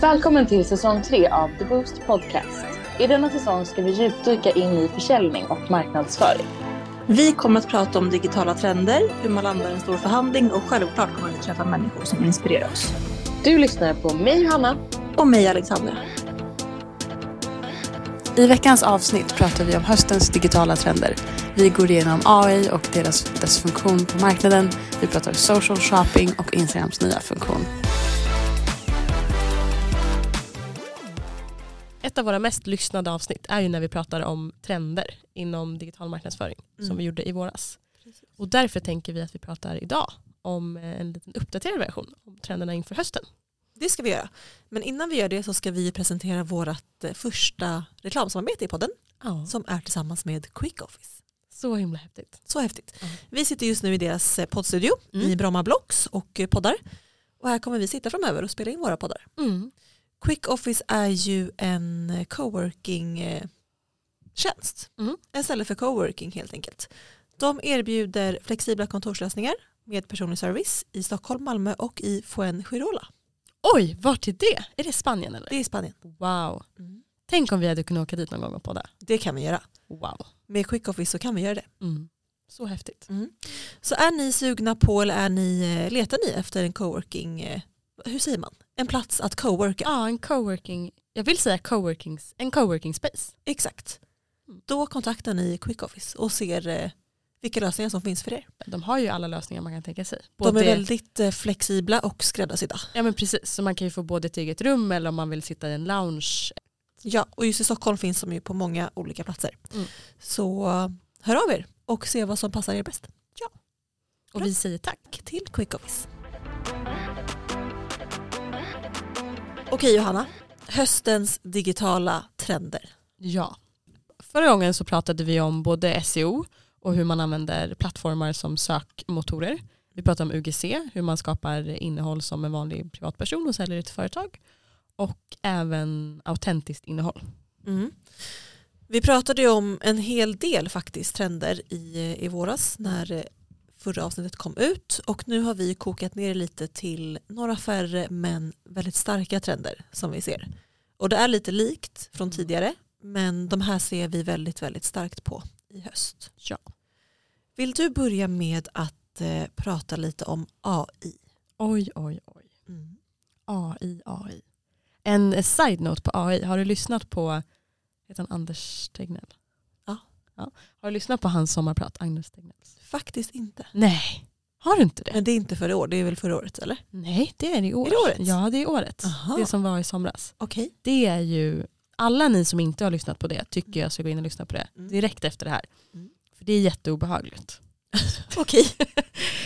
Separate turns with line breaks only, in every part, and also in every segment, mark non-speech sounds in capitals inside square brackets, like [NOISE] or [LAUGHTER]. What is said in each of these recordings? Välkommen till säsong 3 av The Boost Podcast. I denna säsong ska vi djupdyka in i försäljning och marknadsföring.
Vi kommer att prata om digitala trender, hur man landar en stor förhandling och självklart kommer vi träffa människor som inspirerar oss.
Du lyssnar på mig Hanna.
Och mig Alexandra.
I veckans avsnitt pratar vi om höstens digitala trender. Vi går igenom AI och deras, dess funktion på marknaden. Vi pratar social shopping och Instagrams nya funktion.
Ett av våra mest lyssnade avsnitt är ju när vi pratar om trender inom digital marknadsföring som
Mm.
vi gjorde i våras. Och därför tänker vi att vi pratar idag om eh, en liten uppdaterad version om trenderna inför hösten.
Det ska vi göra. Men innan vi gör det så ska vi presentera vårt eh, första reklamsamarbete i podden
Ja.
som är tillsammans med Quick Office.
Så himla häftigt.
Så häftigt.
Ja.
Vi sitter just nu i deras eh, poddstudio
Mm.
i Bromma Blocks och eh, poddar. Och här kommer vi sitta framöver och spela in våra poddar.
Mm.
Quick Office är ju en eh, coworking-tjänst.
Mm.
En ställe för coworking helt enkelt. De erbjuder flexibla kontorslösningar med personlig service i Stockholm, Malmö och i Fuengirola.
Oj, vart är det? Är det Spanien eller?
Det är i Spanien.
Wow. Tänk om vi hade kunnat åka dit någon gång och podda.
Det kan vi göra.
Wow.
Med Quick Office så kan vi göra det.
Mm. Så häftigt.
Så är ni sugna på eller är ni, eh, letar ni efter en coworking, eh, hur säger man, en plats att coworka?
Ja, en coworking, jag vill säga coworkings, en coworking space.
Exakt.
Mm.
Då kontaktar ni Quick Office och ser eh, vilka lösningar som finns för er.
De har ju alla lösningar man kan tänka sig.
De är
Både-
väldigt eh, flexibla och skräddarsydda.
Ja men precis, så man kan ju få både ett eget rum eller om man vill sitta i en lounge.
Ja, och just i Stockholm finns de ju på många olika platser.
Mm.
Så eh, hör av er och se vad som passar er bäst.
Och vi säger tack.
Till Quick Office. Okej Johanna, höstens digitala trender.
Ja. Förra gången så pratade vi om både SEO och hur man använder plattformar som sökmotorer. Vi pratade om UGC, hur man skapar innehåll som en vanlig privatperson och säljer det till företag. Och även autentiskt innehåll.
Mm. Vi pratade ju om en hel del faktiskt trender i, i våras när eh, förra avsnittet kom ut och nu har vi kokat ner lite till några färre men väldigt starka trender som vi ser. Och det är lite likt från tidigare men de här ser vi väldigt väldigt starkt på i höst.
Ja.
Vill du börja med att eh, prata lite om AI?
Oj, oj, oj.
Mm.
AI, AI. En side-note på AI. Har du lyssnat på, heter han Anders Tegnell?
Ja.
ja. Har du lyssnat på hans sommarprat, Agnes Tegnells?
Faktiskt inte.
Nej, har du inte det?
Men det är inte förra året, det är väl förra året eller?
Nej, det är i år.
Är det året?
Ja, det är året.
Aha.
Det som var i somras.
Okej.
Det är ju, alla ni som inte har lyssnat på det tycker jag ska gå in och lyssna på det
Mm.
direkt efter det här.
Mm.
För det
[LAUGHS]
är jätteobehagligt.
Okej.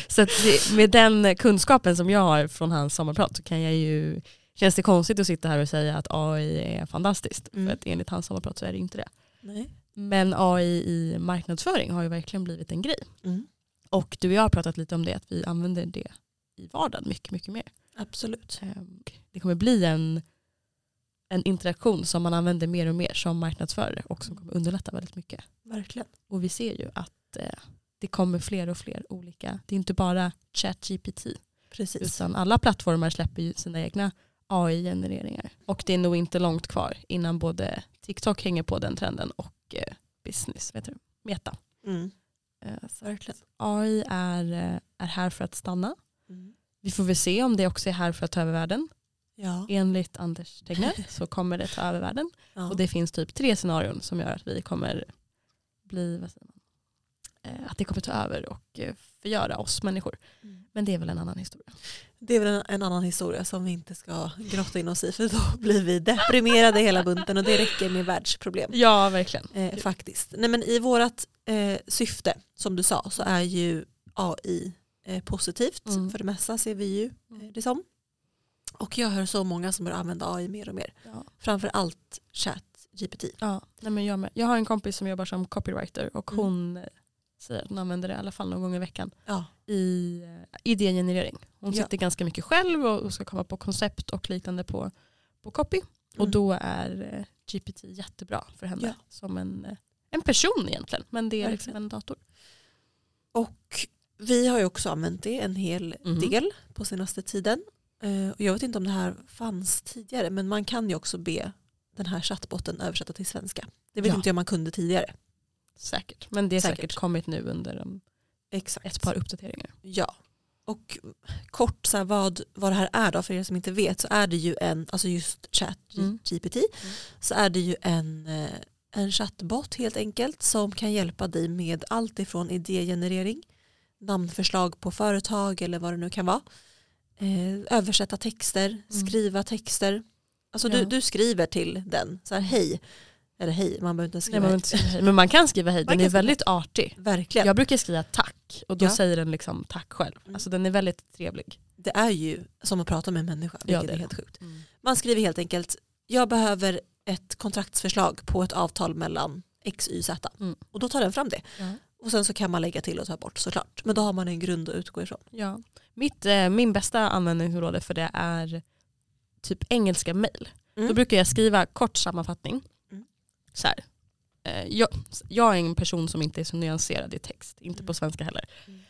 Så att det, med den kunskapen som jag har från hans sommarprat så kan jag ju, känns det konstigt att sitta här och säga att AI är fantastiskt.
Mm.
För att enligt hans sommarprat så är det inte det.
Nej.
Men AI i marknadsföring har ju verkligen blivit en grej.
Mm.
Och du och jag har pratat lite om det, att vi använder det i vardagen mycket, mycket mer.
Absolut.
Ehm, Det kommer bli en, en interaktion som man använder mer och mer som marknadsförare och som kommer underlätta väldigt mycket.
Verkligen.
Och vi ser ju att eh, det kommer fler och fler olika. Det är inte bara ChatGPT
Precis.
utan alla plattformar släpper ju sina egna AI-genereringar. Och det är nog inte långt kvar innan både TikTok hänger på den trenden och eh, business, vet du, Meta.
Mm.
Eh, så
Verkligen.
AI är, eh, är här för att stanna.
Mm.
Vi får väl se om det också är här för att ta över världen.
Ja.
Enligt Anders Tegnell så kommer det ta över världen.
ja.
Och det finns typ tre scenarion som gör att vi kommer bli, vad säger man, eh, att det kommer ta över och eh, förgöra oss människor.
Mm.
Men det är väl en annan historia.
Det är väl en, en annan historia som vi inte ska grotta in oss i för då [LAUGHS] blir vi deprimerade hela bunten och det räcker med världsproblem.
Ja, verkligen.
Eh, faktiskt. Nej, men I vårt eh, syfte som du sa så är ju AI eh, positivt.
Mm.
För det mesta ser vi ju eh, det som. Och jag hör så många som börjar använda AI mer och mer.
Ja.
Framför allt ChatGPT.
Ja. Nej, men jag, med. jag har en kompis som jobbar som copywriter och
Mm.
hon eh, säger att hon använder det i alla fall någon gång i veckan
Ja.
i eh, idégenerering. Hon
Ja.
sitter ganska mycket själv och och ska komma på koncept och liknande på, på copy. Och
Mm.
då är eh, GPT jättebra för henne
Ja.
som en, eh, en person egentligen. Men det är liksom
Verkligen.
en dator.
Och vi har ju också använt det en hel
Mhm.
del på senaste tiden. Eh, Eh, Och jag vet inte om det här fanns tidigare men man kan ju också be den här chattbotten översätta till svenska. Det vet
Ja.
inte jag om man kunde tidigare.
Säkert. Men det är säkert,
Säkert.
kommit nu under um,
Exakt.
ett par uppdateringar.
Ja. Och kort så här, vad, vad det här är då för er som inte vet så är det ju en, alltså just
Mm.
ChatGPT, så är det ju en, eh, en chattbot helt enkelt som kan hjälpa dig med allt ifrån idégenerering, namnförslag på företag eller vad det nu kan vara, eh, översätta texter, skriva texter. Alltså du,
Mm. Ja.
du skriver till den, så här hej, eller hej, man behöver inte
Nej,
skriva
man vill
hej.
inte skriva hej. Men man kan skriva hej,
Man
den
kan
är väldigt artig.
Verkligen.
Jag brukar skriva tack och då
Ja. Mm.
säger den liksom tack själv. Alltså den är väldigt trevlig.
Det är ju som att prata med en människa, vilket
Ja, det
är
är
helt sjukt.
Mm.
Man skriver helt enkelt, jag behöver ett kontraktsförslag på ett avtal mellan XYZ.
Mm.
Och då tar den fram det.
Ja.
Och sen så kan man lägga till och ta bort såklart. Men då har man en grund att utgå ifrån.
Ja. Mitt, eh, min bästa användningsområde för det är typ engelska mail.
Mm.
Då brukar jag skriva kort sammanfattning.
Mm.
Så här. Eh, Jag, jag är en person som inte är så nyanserad i text, inte på svenska heller.
Mm.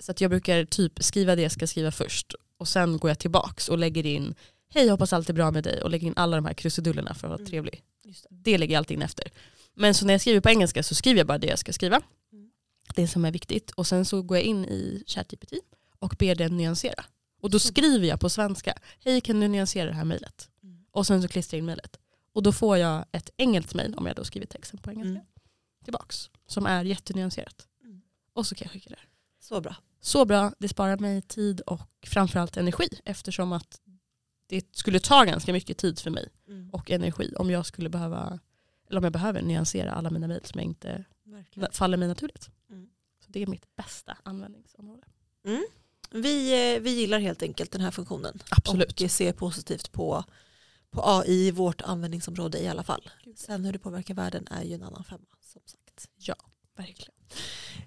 Så att jag brukar typ skriva det jag ska skriva först och sen går jag tillbaks och lägger in hej jag hoppas allt är bra med dig och lägger in alla de här krusidullerna för att vara
Mm.
trevlig.
Just det.
Det lägger jag alltid in efter. Men så när jag skriver på engelska så skriver jag bara det jag ska skriva.
Mm.
Det som är viktigt. Och sen så går jag in i ChatGPT och ber den nyansera. Och då skriver jag på svenska. Hej kan du nyansera det här mejlet?
Mm.
Och sen så klistrar jag in mejlet. Och då får jag ett engelskt mejl om jag då skrivit texten på engelska.
Mm.
Tillbaks. Som är jättenyanserat.
Mm.
Och så kan jag skicka det.
Så bra.
Så bra, det sparar mig tid och framförallt energi. Eftersom att det skulle ta ganska mycket tid för mig
Mm.
och energi om jag skulle behöva eller om jag behöver nyansera alla mina mejl som jag inte
Verkligen.
faller mig naturligt.
Mm.
Så det är mitt bästa användningsområde.
Mm. Vi, eh, vi gillar helt enkelt den här funktionen.
Absolut.
Och ser positivt på, på AI i vårt användningsområde i alla fall. Sen hur det påverkar världen är ju en annan femma. Som sagt.
Verkligen.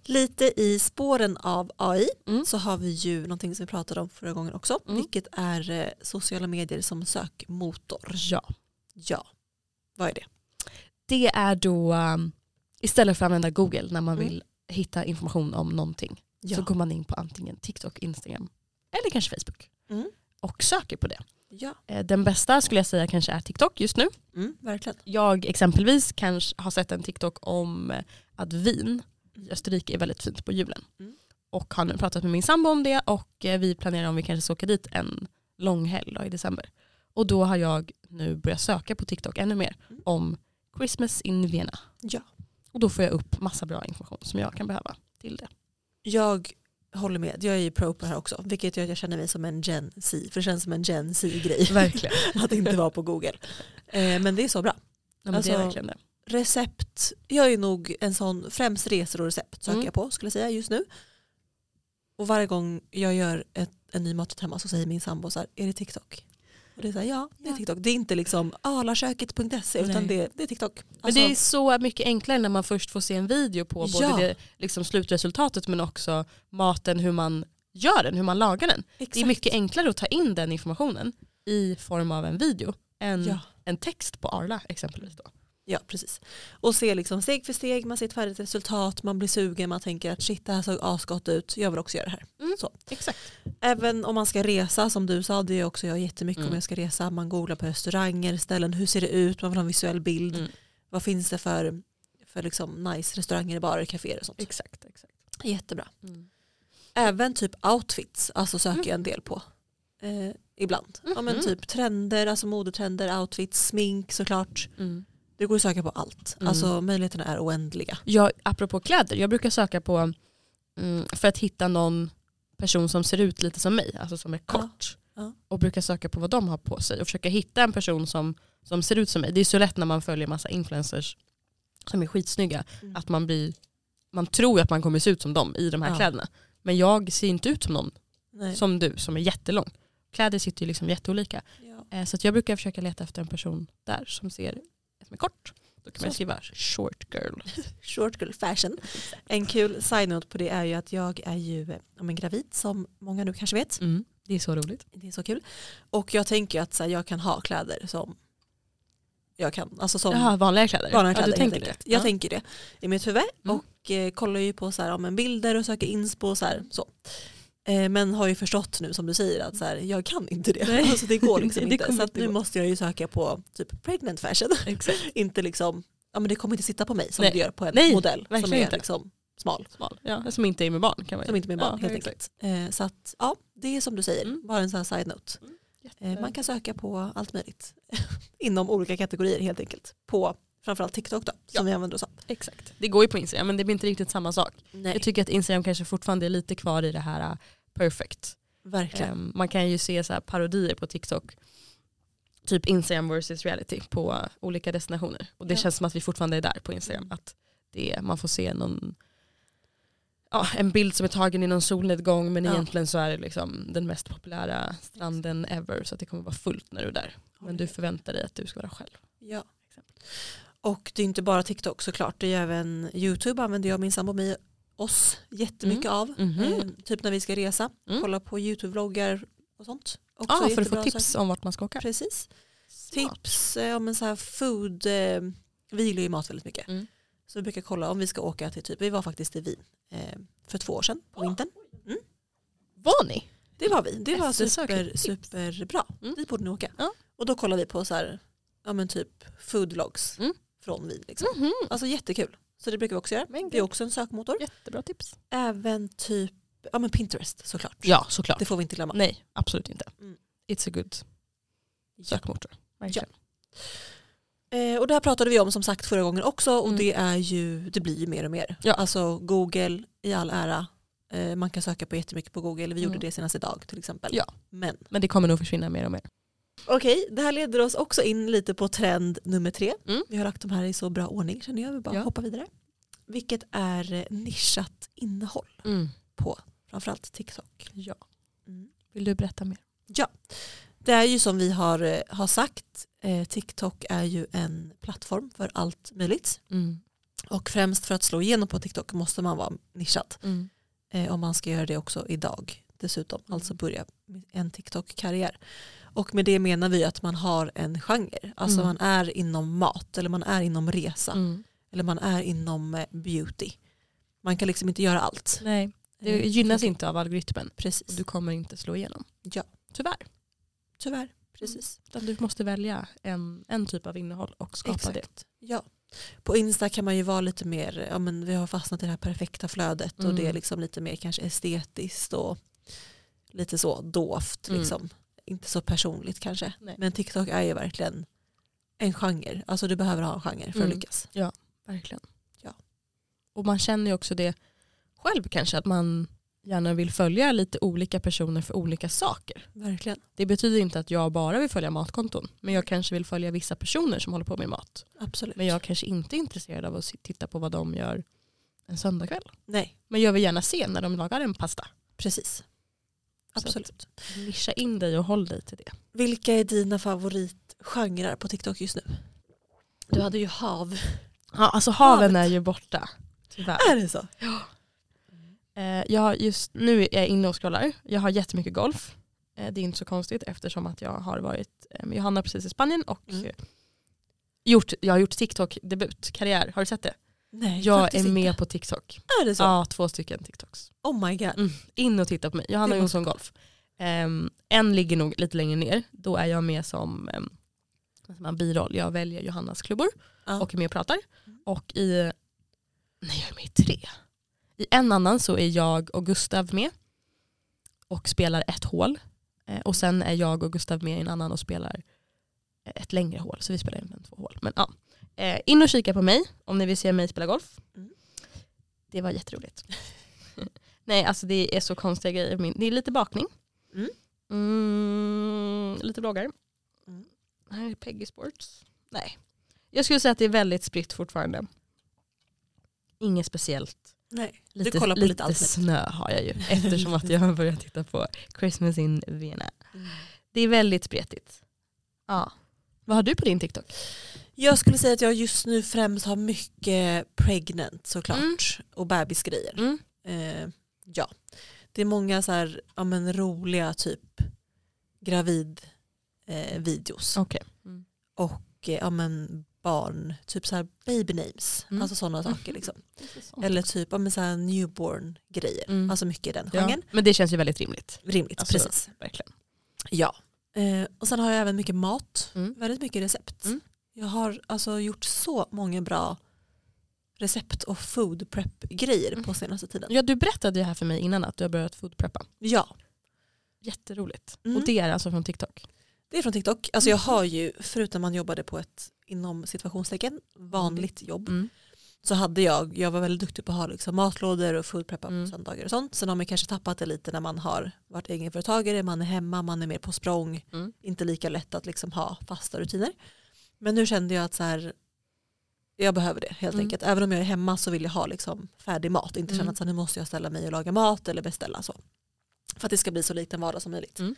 Lite i spåren av AI
Mm.
så har vi ju någonting som vi pratade om förra gången också,
Mm.
vilket är eh, sociala medier som sökmotor.
Ja.
Ja, vad är det?
Det är då um, istället för att använda Google när man
Mm.
vill hitta information om någonting
Ja.
så går man in på antingen TikTok, Instagram eller kanske Facebook
Mm.
och söker på det.
ja.
Eh, Den bästa skulle jag säga kanske är TikTok just nu.
Mm, verkligen.
Jag exempelvis kanske har sett en TikTok om eh, att vin i Österrike är väldigt fint på julen.
Mm.
Och har nu pratat med min sambo om det och eh, vi planerar om vi kanske ska åka dit en lång helg då, i december. Och då har jag nu börjat söka på TikTok ännu mer
Mm.
om Christmas in Vienna.
Ja.
Och då får jag upp massa bra information som jag kan behöva
[LAUGHS]
till det.
Jag håller med, jag är ju pro på det här också, vilket gör att jag känner mig som en Gen Z, för det känns som en Gen Z-grej
Verkligen.
[LAUGHS] att inte vara på Google. Eh, men det är så bra.
Ja, men det
Alltså,
är verkligen det.
Recept, jag är nog en sån, främst resor och recept söker
Mm.
jag på skulle jag säga just nu. Och varje gång jag gör ett, en ny maträtt hemma så säger min sambo så här, är det TikTok? Och det är så här, ja det är
Ja.
TikTok. Det är inte liksom alaköket.se utan
Nej.
det, det är TikTok.
Men
Alltså,
det är så mycket enklare när man först får se en video på både
Ja.
det, liksom slutresultatet men också maten, hur man gör den, hur man lagar den. Det är
exakt.
mycket enklare att ta in den informationen i form av en video än
Ja.
en text på Arla exempelvis. Då.
Ja, precis. Och se liksom steg för steg, man ser ett färdigt resultat, man blir sugen, man tänker att shit det här såg asgott ut, jag vill också göra det här.
Mm.
Så.
Exakt.
Även om man ska resa, som du sa, det är också jag jättemycket om
Mm.
jag ska resa, man googlar på restauranger, ställen, hur ser det ut, man vill ha en visuell bild,
Mm.
vad finns det för, för liksom nice restauranger, barer, kaféer och sånt.
Exakt, exakt.
Jättebra.
Mm.
Även typ outfits, alltså söker jag en del på. Eh, ibland. Ja men
Mhm.
typ trender, alltså modetrender, outfits, smink såklart. Det går att söka på allt.
Mm.
Alltså möjligheterna är oändliga.
Jag, apropå kläder, jag brukar söka på mm, för att hitta någon person som ser ut lite som mig, alltså som är kort.
Ja.
Och brukar söka på vad de har på sig och försöka hitta en person som, som ser ut som mig. Det är så lätt när man följer massa influencers som är skitsnygga
Mm.
att man, blir, man tror att man kommer se ut som dem i de här
Ja.
kläderna. Men jag ser inte ut som någon
Nej.
som du som är jättelång. Kläder sitter ju liksom jätteolika.
Ja.
Eh, så att jag brukar försöka leta efter en person där som ser som är kort. Då kan man
Så.
skriva short girl.
Short girl fashion. En kul side-note på det är ju att jag är ju eh, ja, men gravid som många nu kanske vet.
Mm, det är så roligt.
Det är så kul. Och jag tänker ju att så här, jag kan ha kläder som jag kan, alltså som
Jaha, vanliga kläder.
Vanliga
ja,
kläder
du
helt
tänker
enkelt.
det.
Jag
ja.
tänker det i mitt huvud
Mm.
och eh, kollar ju på så här, ja, men bilder och söker inspo och så här. Så. Eh, Men har ju förstått nu som du säger att så här, jag kan inte det.
Nej.
Alltså, det går liksom
Nej, [LAUGHS] det
inte.
kommer
Så att
inte
nu
gå.
måste jag ju söka på typ pregnant fashion.
Exakt.
[LAUGHS] inte liksom, ja men det kommer inte sitta på mig som
Nej.
det gör på en
Nej,
modell som
verkligen
är
inte.
liksom smal.
Smal. Ja, som inte är med barn kan man
Som inte är med barn
Ja,
helt
exakt.
enkelt. Eh, Så att ja, det är som du säger,
Mm.
bara en sån här side note. Eh, Man kan söka på allt möjligt [LAUGHS] inom olika kategorier helt enkelt. På framförallt TikTok då, som vi använder oss av.
Exakt. Det går ju på Instagram men det blir inte riktigt samma sak.
Nej,
Jag tycker att Instagram kanske fortfarande är lite kvar i det här uh, perfect.
verkligen.
Ehm, man kan ju se så här parodier på TikTok. Typ Instagram versus reality på uh, olika destinationer. Och det
Ja. Mm.
känns som att vi fortfarande är där på Instagram. Att det är, man får se någon, ja, en bild som är tagen i någon solnedgång men
Ja.
egentligen så är det liksom den mest populära stranden ever. Så att det kommer vara fullt när du är där. Men du förväntar dig att du ska vara själv.
Ja. Och det är inte bara TikTok såklart, det är även YouTube använder jag min sambo med oss jättemycket av.
Mhm.
Eh, typ när vi ska resa,
Mm.
kolla på YouTube-vloggar och sånt. Också
Ja, för att få
jättebra
tips
saker.
om vart man ska åka.
Precis.
Smart.
Tips eh, om en så här food, eh, vi gillar ju mat väldigt mycket.
Mm.
Så vi brukar kolla om vi ska åka till typ, vi var faktiskt i Wien eh, för två år sedan på vintern.
Var ni?
Det var vi, det var alltså
Eftersökligt
super,
tips.
superbra.
Mm.
Vi borde nog åka.
Ja.
Och då kollar vi på så här, ja men typ foodlogs
Mm.
från Wien. Liksom.
Mhm.
Alltså jättekul. Så det brukar vi också göra.
Men
Det är också en sökmotor.
Jättebra tips.
Även typ ja, men Pinterest såklart.
Ja, såklart.
Det får vi inte glömma.
Nej, absolut inte.
Mm.
It's a good sökmotor. Verkligen.
Eh, och det här pratade vi om som sagt förra gången också och
Mm.
det, är ju, det blir ju mer och mer.
Ja.
Alltså Google i all ära. Eh, man kan söka på jättemycket på Google. Vi gjorde
Mm.
det senast idag till exempel.
Ja.
Men
Men det kommer nog försvinna mer och mer.
Okej, det här leder oss också in lite på trend nummer tre.
Mm.
Vi har lagt de här i så bra ordning känner jag. Vi bara
Ja.
hoppar vidare. Vilket är eh, nischat innehåll
Mm.
på framförallt TikTok.
Ja.
Mm.
Vill du berätta mer?
Det är ju som vi har, eh, har sagt, eh, TikTok är ju en plattform för allt möjligt.
Mm.
Och främst för att slå igenom på TikTok måste man vara nischad.
Mm.
Eh, om man ska göra det också idag dessutom.
Mm.
Alltså börja med en TikTok-karriär. Och med det menar vi att man har en genre. Alltså
Mm.
man är inom mat eller man är inom resa.
Mm.
Eller man är inom eh, beauty. Man kan liksom inte göra allt.
Nej, det
Eh,
gynnas inte av algoritmen.
Precis.
Du kommer inte slå igenom.
Ja.
Tyvärr.
Tyvärr. Precis.
Utan Du måste välja en, en typ av innehåll och skapa
Exakt.
det.
Ja. På Insta kan man ju vara lite mer, ja men vi har fastnat i det här perfekta flödet och
Mm.
det är liksom lite mer kanske estetiskt och lite så dovt
Mm.
liksom. Inte så personligt kanske.
Nej.
Men TikTok är ju verkligen en genre. Alltså du behöver ha en genre för att
Mm.
lyckas.
Verkligen.
Ja.
Och man känner ju också det själv kanske att man gärna vill följa lite olika personer för olika saker.
Verkligen.
Det betyder inte att jag bara vill följa matkonton. Men jag kanske vill följa vissa personer som håller på med mat.
Absolut.
Men jag kanske inte är intresserad av att se- titta på vad de gör en söndagkväll.
Nej,
Men jag vill gärna se när de lagar en pasta.
precis.
att-
Absolut.
Nischa in dig och håll dig till det.
Vilka är dina favoritgenrer på TikTok just nu? Du hade ju hav.
Ja, alltså
Havet.
haven är ju borta. Tyvärr.
Är det så?
Eh, jag har just nu är jag inne och scrollar. Jag har jättemycket golf. Eh, det är inte så konstigt eftersom att jag har varit eh, med Johanna precis i Spanien och
Mm.
eh, gjort, jag har gjort TikTok-debut, karriär. Har du sett det?
Nej,
Jag är
faktiskt
med
inte.
på TikTok.
Är det så?
Ja, två stycken TikToks.
Oh my god.
Mm. In och titta på mig.
Det
Johanna
måste-
Jonsson Golf. Ehm, en ligger nog lite längre ner. Då är jag med som um, man biroll. Jag väljer Johannas klubbor
Ja.
och är med och pratar. Och i, nej jag är med i tre. I en annan så är jag och Gustav med och spelar ett hål. Eh, och sen är jag och Gustav med i en annan och spelar eh, ett längre hål. Så vi spelar egentligen två hål. Men, ja. eh, in och kika på mig om ni vill se mig spela golf.
Mm.
Det var jätteroligt. [LAUGHS] nej alltså det är så konstiga grejer. Min- Det är lite bakning.
Mm.
Mm, lite bloggar.
Mm.
Här är Peggy Sports. Nej. Jag skulle säga att det är väldigt spritt fortfarande. Inget speciellt.
Nej.
Lite,
du kollar på lite,
lite
allt möjligt.
snö har jag ju eftersom att jag har börjat titta på Christmas in Vienna.
Mm.
Det är väldigt spretigt. Ja. Vad har du på din TikTok?
Jag skulle säga att jag just nu främst har mycket pregnant såklart.
Mm.
Och bebisgrejer.
Mm.
Eh, ja. Det är många så här, ja, men roliga typ gravid eh, videos.
Okej.
Och eh, ja, men barn, typ så här baby names,
Mm.
alltså sådana saker liksom.
Sånt.
Eller typ ja, men så här newborn grejer,
Mm.
alltså mycket i den
Ja.
genren.
Men det känns ju väldigt rimligt.
Rimligt,
Alltså,
precis.
Verkligen.
Ja. Eh, och sen har jag även mycket mat,
Mm.
väldigt mycket recept.
Mm.
Jag har alltså gjort så många bra recept och food prep grejer på senaste tiden.
Ja, du berättade ju här för mig innan att du har börjat foodpreppa.
Ja,
Jätteroligt.
Mm.
Och det är alltså från TikTok.
Det är från TikTok. Alltså jag har ju, förutom man jobbade på ett inom situationstecken vanligt jobb,
Mm.
så hade jag, jag var väldigt duktig på att ha liksom matlådor och foodpreppa
Mm.
på söndagar och sånt. Sen har man kanske tappat det lite när man har varit egenföretagare, man är hemma, man är mer på språng,
Mm.
inte lika lätt att liksom ha fasta rutiner. Men nu kände jag att så här, jag behöver det helt
Mm.
enkelt. Även om jag är hemma så vill jag ha liksom färdig mat, inte
Mm.
känna att så här, nu måste jag ställa mig och laga mat eller beställa så. För att det ska bli så likt en vardag som möjligt.
Mm.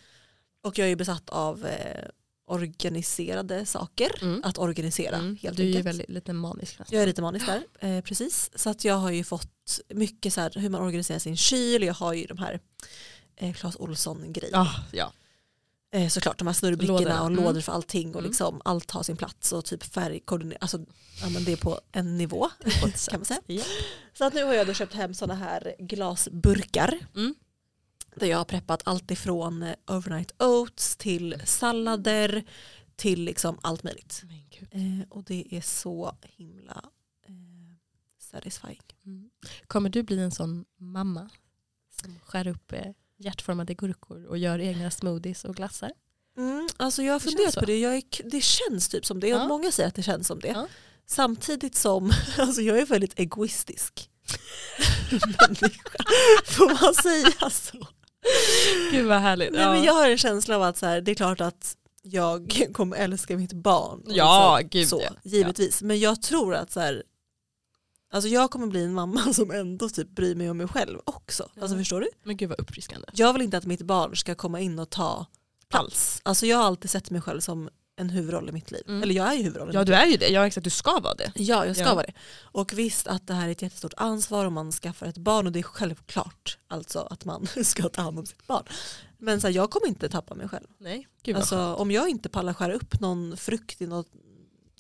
Och jag är ju besatt av eh, organiserade saker,
Mm.
att organisera helt
du är ju
enkelt.
väldigt, lite manisk nästan.
Jag är lite manisk där, eh, precis. Så att jag har ju fått mycket så här hur man organiserar sin kyl, jag har ju de här eh, Clas Ohlson-grejerna.
Ja, ja.
Eh, såklart de här snurrbrickorna
Lådorna.
och
Mm.
lådor för allting och
Mm.
liksom allt har sin plats och typ färgkoordinering, alltså ja, men det är på en nivå
på ett sätt.
kan man säga.
Ja.
Så att nu har jag då köpt hem sådana här glasburkar.
Mm.
Där jag har preppat allt ifrån eh, overnight oats till sallader till liksom allt möjligt.
Men gud.
Eh, och det är så himla eh, satisfying.
Kommer du bli en sån mamma som skär upp eh, hjärtformade gurkor och gör egna smoothies och glassar?
Mm, alltså jag har
känns
funderat
så.
på det, jag är, k- det känns typ som det.
Ja.
Många säger att det känns som det.
Ja.
Samtidigt som, [LAUGHS] alltså jag är väldigt
[LAUGHS]
egoistisk. [LAUGHS] Människa. Får man säga så?
Gud vad härligt.
Nej, men jag har en känsla av att så här, det är klart att jag kommer älska mitt barn. och
Ja,
liksom
gud,
så,
ja.
Givetvis. Men jag tror att så här, alltså jag kommer bli en mamma [LAUGHS] som ändå typ bryr mig om mig själv också. Alltså
Ja.
förstår du?
men gud vad uppfriskande.
Jag vill inte att mitt barn ska komma in och ta plats. Alltså jag har alltid sett mig själv som en huvudroll i mitt liv.
Mm.
Eller jag är ju huvudrollen.
Ja du är ju det, ja exakt du ska vara det.
Ja, jag ska
Ja.
vara det. Och visst att det här är ett jättestort ansvar om man skaffar ett barn och det är självklart alltså att man [LAUGHS] ska ta hand om sitt barn. Men så här, jag kommer inte tappa mig själv.
Nej. Gud vad
Alltså, om jag inte pallar skära upp någon frukt i något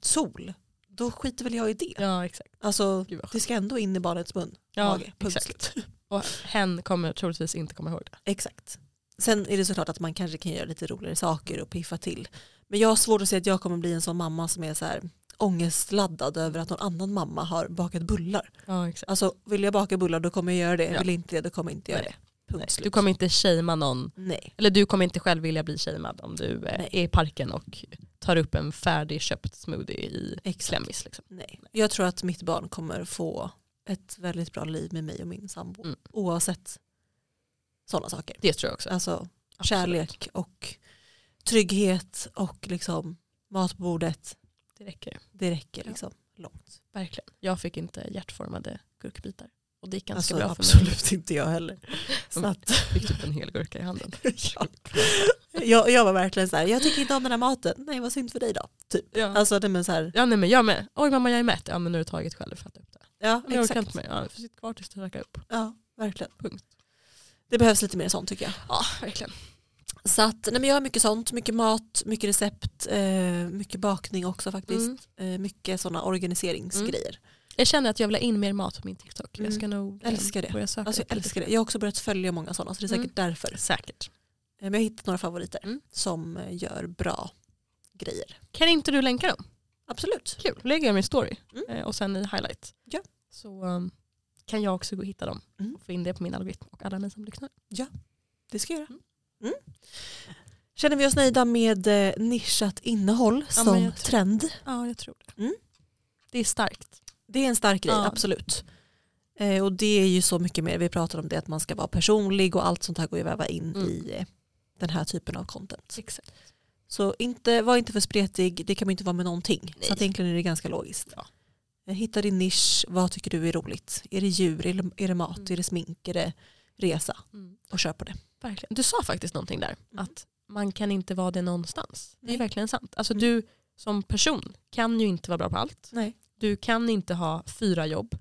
sol, då skiter väl jag i det.
Ja exakt.
Alltså,
Gud vad
det ska ändå in i barnets mun.
Ja,
mage, punkt
exakt.
slut.
[LAUGHS] Och hen kommer troligtvis inte komma ihåg det.
Exakt. Sen är det såklart att man kanske kan göra lite roligare saker och piffa till. Men jag har svårt att se att jag kommer bli en sån mamma som är så här ångestladdad över att någon annan mamma har bakat bullar.
Ja exakt.
Alltså vill jag baka bullar då kommer jag göra det,
Ja.
vill jag inte det då kommer jag inte göra
Nej.
det. Punkt
Nej,
slut.
du kommer inte shamea någon,
Nej.
eller du kommer inte själv vilja bli shamead om du eh,
Nej.
är i parken och tar upp en färdigköpt smoothie i
Exakt.
klämmis. Liksom.
Nej. Jag tror att mitt barn kommer få ett väldigt bra liv med mig och min sambo.
Mm.
Oavsett sådana saker.
Det tror jag också.
Alltså
Absolut.
kärlek och trygghet och liksom mat på bordet.
Det räcker.
Det räcker
Ja.
liksom långt.
Verkligen. Jag fick inte hjärtformade gurkbitar. Och det gick ganska
Alltså,
bra för mig.
absolut inte jag
[LAUGHS]
heller. Så att,
Fick typ en hel gurka i handen.
[LAUGHS] ja. jag, jag var verkligen så här, jag tycker inte om den här maten. Nej vad synd för dig då. Typ.
Ja.
Alltså det men så här,
ja nej men jag med. Oj mamma jag är mätt. Ja men nu har du tagit själv för att upp det.
ja
Men jag orkar
exakt.
inte mer. Ja, sitt kvar tills du rackar upp.
Ja, verkligen.
Punkt.
Det behövs lite mer sånt tycker jag.
Ja verkligen.
Så att, nej men jag har mycket sånt, mycket mat, mycket recept, eh, mycket bakning också faktiskt. Eh, mycket sådana organiseringsgrejer.
Mm. Jag känner att jag vill ha in mer mat på min TikTok. Jag ska nog eh,
Mm. Älskar det.
börja söka.
Alltså jag
lite.
älskar det. Jag har också börjat följa många sådana så det är säkert
Mm.
därför. Eh,
Säkert.
men jag har hittat några favoriter
Mm.
som eh, gör bra grejer.
Kan inte du länka dem?
Absolut.
Kul. Lägger dem i story
Mm.
eh, och sen i highlight.
Ja.
Så um, kan jag också gå och hitta dem
Mm.
och få in det på min algoritm och alla ni som lyssnar.
Det ska jag göra.
Mm.
Mm. Känner vi oss nöjda med eh, nischat innehåll
Ja, men
som
jag tror-
trend?
Ja jag tror det.
Mm.
Det är starkt.
Det är en stark grej,
Ja.
absolut. Eh, och det är ju så mycket mer, vi pratar om det att man ska vara personlig och allt sånt här går ju att väva in
Mm.
i eh, den här typen av content.
Exakt.
Så inte, var inte för spretig, det kan man ju inte vara med någonting.
Nej.
Så att egentligen är det ganska logiskt.
Ja.
Eh, Hitta din nisch, vad tycker du är roligt? Är det djur, är det, är det mat,
Mm.
är det smink, är det resa?
Mm.
Och kör på det.
Verkligen. Du sa faktiskt någonting där.
Mm.
Att man kan inte vara det någonstans. Det
Nej.
är verkligen sant. Alltså
Mm.
du som person kan ju inte vara bra på allt.
Nej.
Du kan inte ha fyra jobb.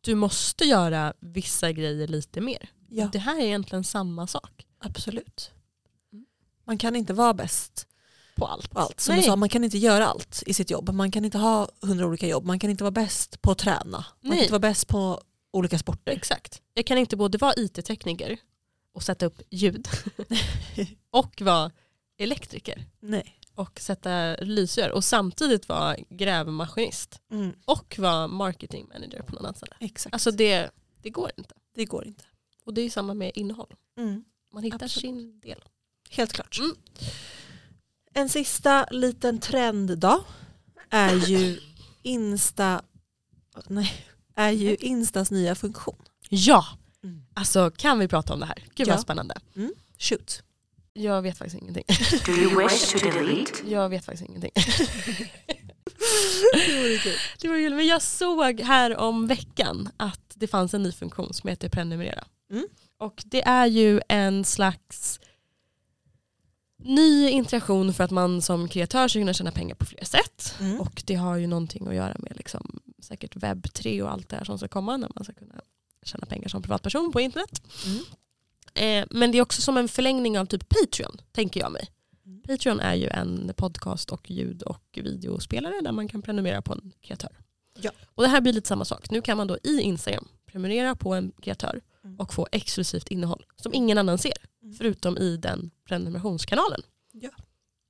Du måste göra vissa grejer lite mer.
Ja,
Det här är egentligen samma sak.
absolut.
Mm.
Man kan inte vara bäst
på allt.
på allt. Som du
Nej.
sa, man kan inte göra allt i sitt jobb. Man kan inte ha hundra olika jobb. Man kan inte vara bäst på att träna. Man kan
Nej.
inte vara bäst på olika sporter.
Exakt. Jag kan inte både vara IT-tekniker och sätta upp
[LAUGHS]
ljud och vara elektriker
Nej.
och sätta lysrör och samtidigt vara grävmaskinist
Mm,
och vara marketing manager på någon annan ställe.
exakt.
Alltså det, det går inte.
det går inte.
Och det är ju samma med innehåll.
Mm.
Man hittar
Absolut.
sin del.
Helt klart.
Mm.
En sista liten trend då är ju Insta nej, är ju Instas nya funktion.
Ja,
Mm.
alltså kan vi prata om det här? Gud
Ja.
vad spännande.
Shoot.
Jag vet faktiskt ingenting.
Do you wish to delete?
Jag vet faktiskt [LAUGHS] ingenting. det var kul. Men jag såg här om veckan att det fanns en ny funktion som heter prenumerera.
Mm.
Och det är ju en slags ny interaktion för att man som kreatör ska kunna tjäna pengar på fler sätt.
Mm.
Och det har ju någonting att göra med liksom, säkert webb 3 och allt det här som ska komma när man ska kunna tjäna pengar som privatperson på internet.
Mm.
Eh, men det är också som en förlängning av typ Patreon, tänker jag mig.
Mm.
Patreon är ju en podcast och ljud och videospelare där man kan prenumerera på en kreatör.
Ja.
Och det här blir lite samma sak. Nu kan man då i Instagram prenumerera på en kreatör
Mm.
och få exklusivt innehåll som ingen annan ser
Mm.
förutom i den prenumerationskanalen.
Ja.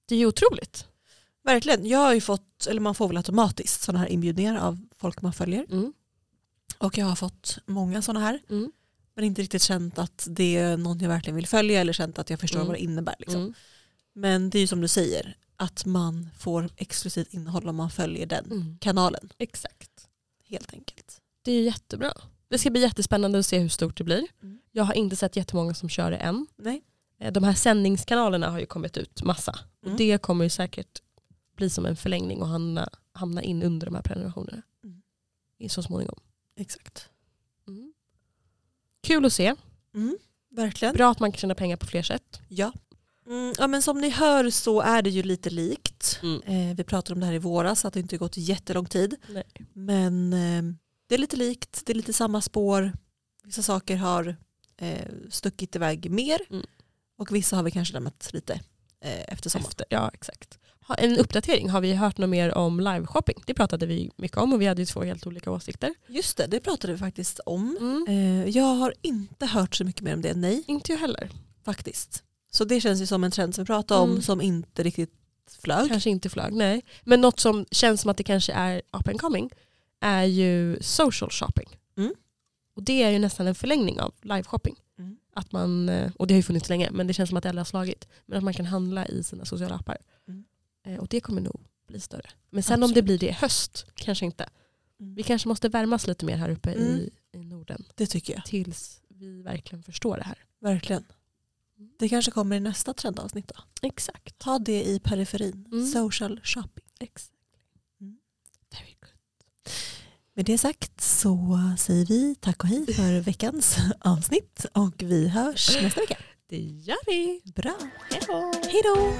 Det är ju otroligt.
Verkligen. Jag har ju fått, eller man får väl automatiskt sådana här inbjudningar av folk man följer. Och jag har fått många sådana här.
Mm.
Men inte riktigt känt att det är någon jag verkligen vill följa eller känt att jag förstår
Mm.
vad det innebär. Liksom.
Mm.
Men det är ju som du säger, att man får exklusivt innehåll om man följer den
Mm.
kanalen
Exakt.
helt enkelt.
Det är ju jättebra. Det ska bli jättespännande att se hur stort det blir.
Mm.
Jag har inte sett jättemånga som kör det än.
Nej.
Eh, De här sändningskanalerna har ju kommit ut massa.
Mm.
Och det kommer ju säkert bli som en förlängning och hamna, hamna in under de här prenumerationerna.
Mm.
I- Så småningom. Mm.
Exakt.
Kul att se.
Mm, verkligen.
Bra att man kan tjäna pengar på fler sätt.
Ja. Mm, ja men som ni hör så är det ju lite likt.
Mm.
Eh, vi pratade om det här i våras att det inte gått jättelång tid.
Nej.
Men eh, det är lite likt, det är lite samma spår. Vissa saker har eh, stuckit iväg mer
Mm.
och vissa har vi kanske lämnat lite eh, efter sommaren.
Efter. Ja, exakt. Ha, en uppdatering. Har vi hört något mer om liveshopping? Det pratade vi mycket om och vi hade ju två helt olika åsikter.
Just det, det pratade vi faktiskt om.
Mm.
Eh, jag har inte hört så mycket mer om det, nej
Inte jag heller.
faktiskt. Så det känns ju som en trend som vi pratade om
Mm.
som inte riktigt flög.
Kanske inte flög, nej. Men något som känns som att det kanske är up and coming är ju social shopping.
Mm.
Och det är ju nästan en förlängning av live shopping.
Mm.
Att man, eh, och det har ju funnits länge men det känns som att det aldrig har slagit. Men att man kan handla i sina sociala appar.
Mm.
Eh, Och det kommer nog bli större. Men sen om det
Absolut.
blir det i höst, kanske inte.
Mm.
Vi kanske måste värmas lite mer här uppe
Mm.
i, i Norden
Det tycker jag,
tills vi verkligen förstår det här.
verkligen. Det kanske kommer i nästa trendavsnitt då.
Exakt.
Ta det i periferin,
Mm.
social shopping.
Exakt.
Mm.
Very good.
Med det sagt så säger vi tack och hej för veckans avsnitt och vi hörs nästa vecka.
Det gör vi.
Bra,
Hej då.
hej då!